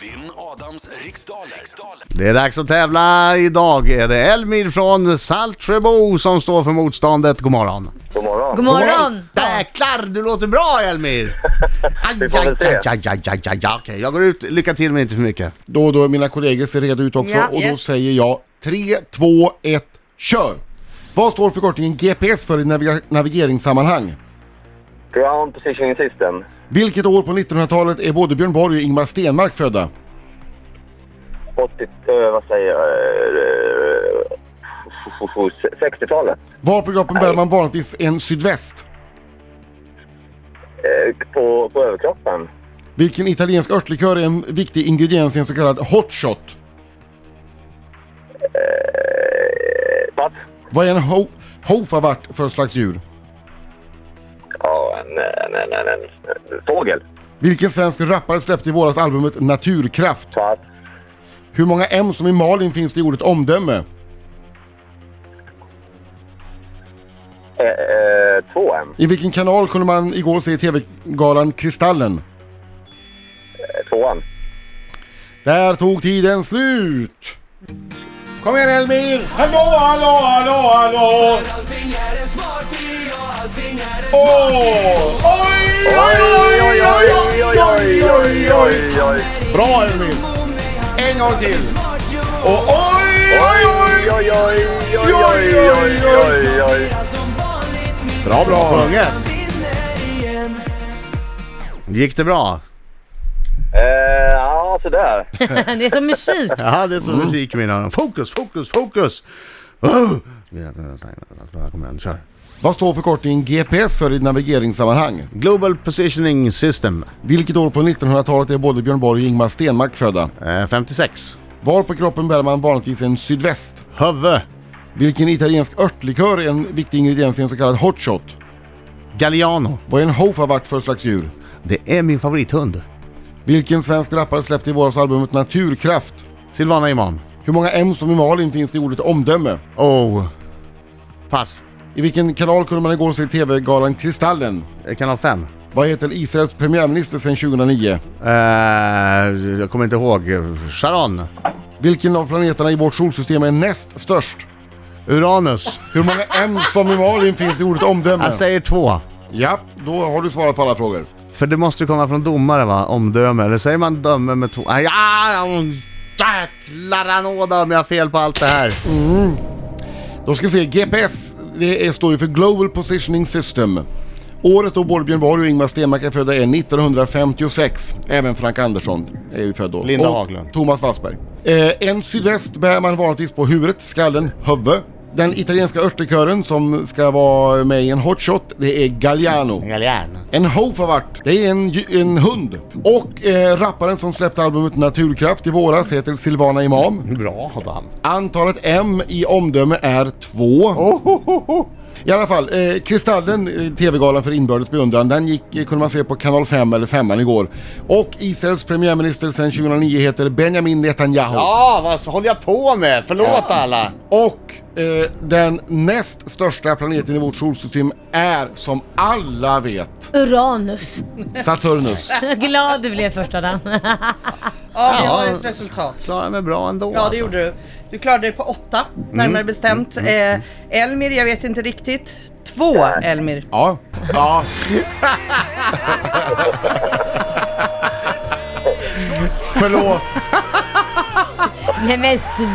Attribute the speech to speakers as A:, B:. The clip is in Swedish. A: Vinn Adams riksdaler. riksdaler.
B: Det är dags att tävla. Idag är det Elmir från Saltsjöbo som står för motståndet. God morgon.
C: God morgon.
D: God morgon! Ja.
B: Jäklar, du låter bra Elmir! Aj,
C: Vi får väl se.
B: aj, aj, aj, aj, aj, aj. Okej, jag går ut. Lycka till men inte för mycket.
E: Då och då är mina kollegor ser redo ut också
D: Ja.
E: och då
D: Yes.
E: säger jag 3, 2, 1, kör! Vad står förkortningen GPS för i naviga- navigeringssammanhang?
C: Ground positioning system.
E: Vilket år på 1900-talet är både Björn Borg och Ingmar Stenmark födda?
C: 80, eh, vad säger jag? eh, eh, f- f- f- 60-talet.
E: Var på kroppen bär man vanligtvis en sydväst?
C: Eh, På, på överkroppen.
E: Vilken italiensk örtlikör är en viktig ingrediens i en så kallad hot shot?
C: Eh, Pass.
E: Vad är en ho- hofavart för slags djur?
C: Ja, en, en, en, en, en, en fågel.
E: Vilken svensk rappare släppte i våras albumet Naturkraft?
C: Pass.
E: Hur många M som i Malin finns det i ordet omdöme?
C: Eh, eh, 2M.
E: I vilken kanal kunde man igår se TV-galan Kristallen?
C: 2M.
E: Där tog tiden slut! Kom igen Elmir! Hallå, hallå, hallå, hallå! Åh! Oj, oj, oj, oj, oj, oj, oj, oj, oj!
C: oj.
E: Bra Elmir! En gång till! Och oj, oj, oj!
C: oj, oj, oj,
E: oj, oj, oj,
C: oj.
E: Bra, bra!
B: Sjunget. Gick det bra?
C: Eh, ja, sådär.
D: Det är som musik.
B: Jaha, det är som musik i mina öron. Fokus, fokus, fokus! Mm. Oh! Kom igen, kör.
E: Vad står förkortningen GPS för i navigeringssammanhang?
B: Global Positioning System,
E: Vilket år på 1900-talet är både Björn Borg och Ingmar Stenmark födda?
B: eh, 56.
E: Var på kroppen bär man vanligtvis en sydväst?
B: Hövve,
E: Vilken italiensk örtlikör är en viktig ingrediens i en så kallad hot shot?
B: Galliano.
E: Vad är en hofavart för slags djur?
B: Det är min favorithund.
E: Vilken svensk rappare släppte i våras albumet Naturkraft?
B: Silvana Imam.
E: Hur många M som i Malin finns det i ordet omdöme?
B: Oh. Pass.
E: I vilken kanal kunde man igår se TV-galan Kristallen?
B: Eh, Kanal 5.
E: Vad heter Israels premiärminister sedan 2009?
B: Eh, jag kommer inte ihåg. Sharon.
E: Vilken av planeterna i vårt solsystem är näst störst?
B: Uranus.
E: Hur många M som i Malin finns i ordet omdöme?
B: Jag säger två.
E: Ja, då har du svarat på alla frågor.
B: För det måste ju komma från domare va? Omdöme. Eller säger man döme med två? Ah, Aj, aj, aj, oh, Jäklar anåda om jag har fel på allt det här.
E: Då ska vi se, GPS, det är- står ju för Global Positioning System. Året då både Björn Borg och Ingmar Stenmark är födda är 1956. Även Frank Andersson är ju född då.
B: Linda
E: och
B: Haglund.
E: Thomas Wassberg. Eh, en sydväst bär man vanligtvis på huvudet, skallen, huvud. Den italienska örtekören som ska vara med i en hot shot, det är Galliano.
B: Galliano.
E: En hofavart, det är en, dju- en hund. Och eh, rapparen som släppte albumet Naturkraft i våras heter Silvana Imam.
B: Bra Adam.
E: Antalet M i omdöme är två. I alla fall, eh, Kristallen, eh, TV-galan för inbördes beundran, den gick, eh, kunde man se på kanal 5 eller 5 igår. Och Israels premiärminister sedan 2009 heter Benjamin Netanyahu.
B: Ja, vad så håller jag på med? Förlåt alla.
E: Och eh, den näst största planeten i vårt solsystem är, som alla vet,
D: Uranus.
E: Saturnus.
D: Glad du blev först Adam.
F: Ja, det
B: Ja.
F: var ett resultat.
B: Klarade mig bra ändå
F: Ja, det
B: alltså.
F: gjorde du. Du klarade dig på åtta, närmare bestämt. Eh, Elmir, jag vet inte riktigt. Två Elmir.
E: ja. ja. Förlåt.
D: Nej men sv-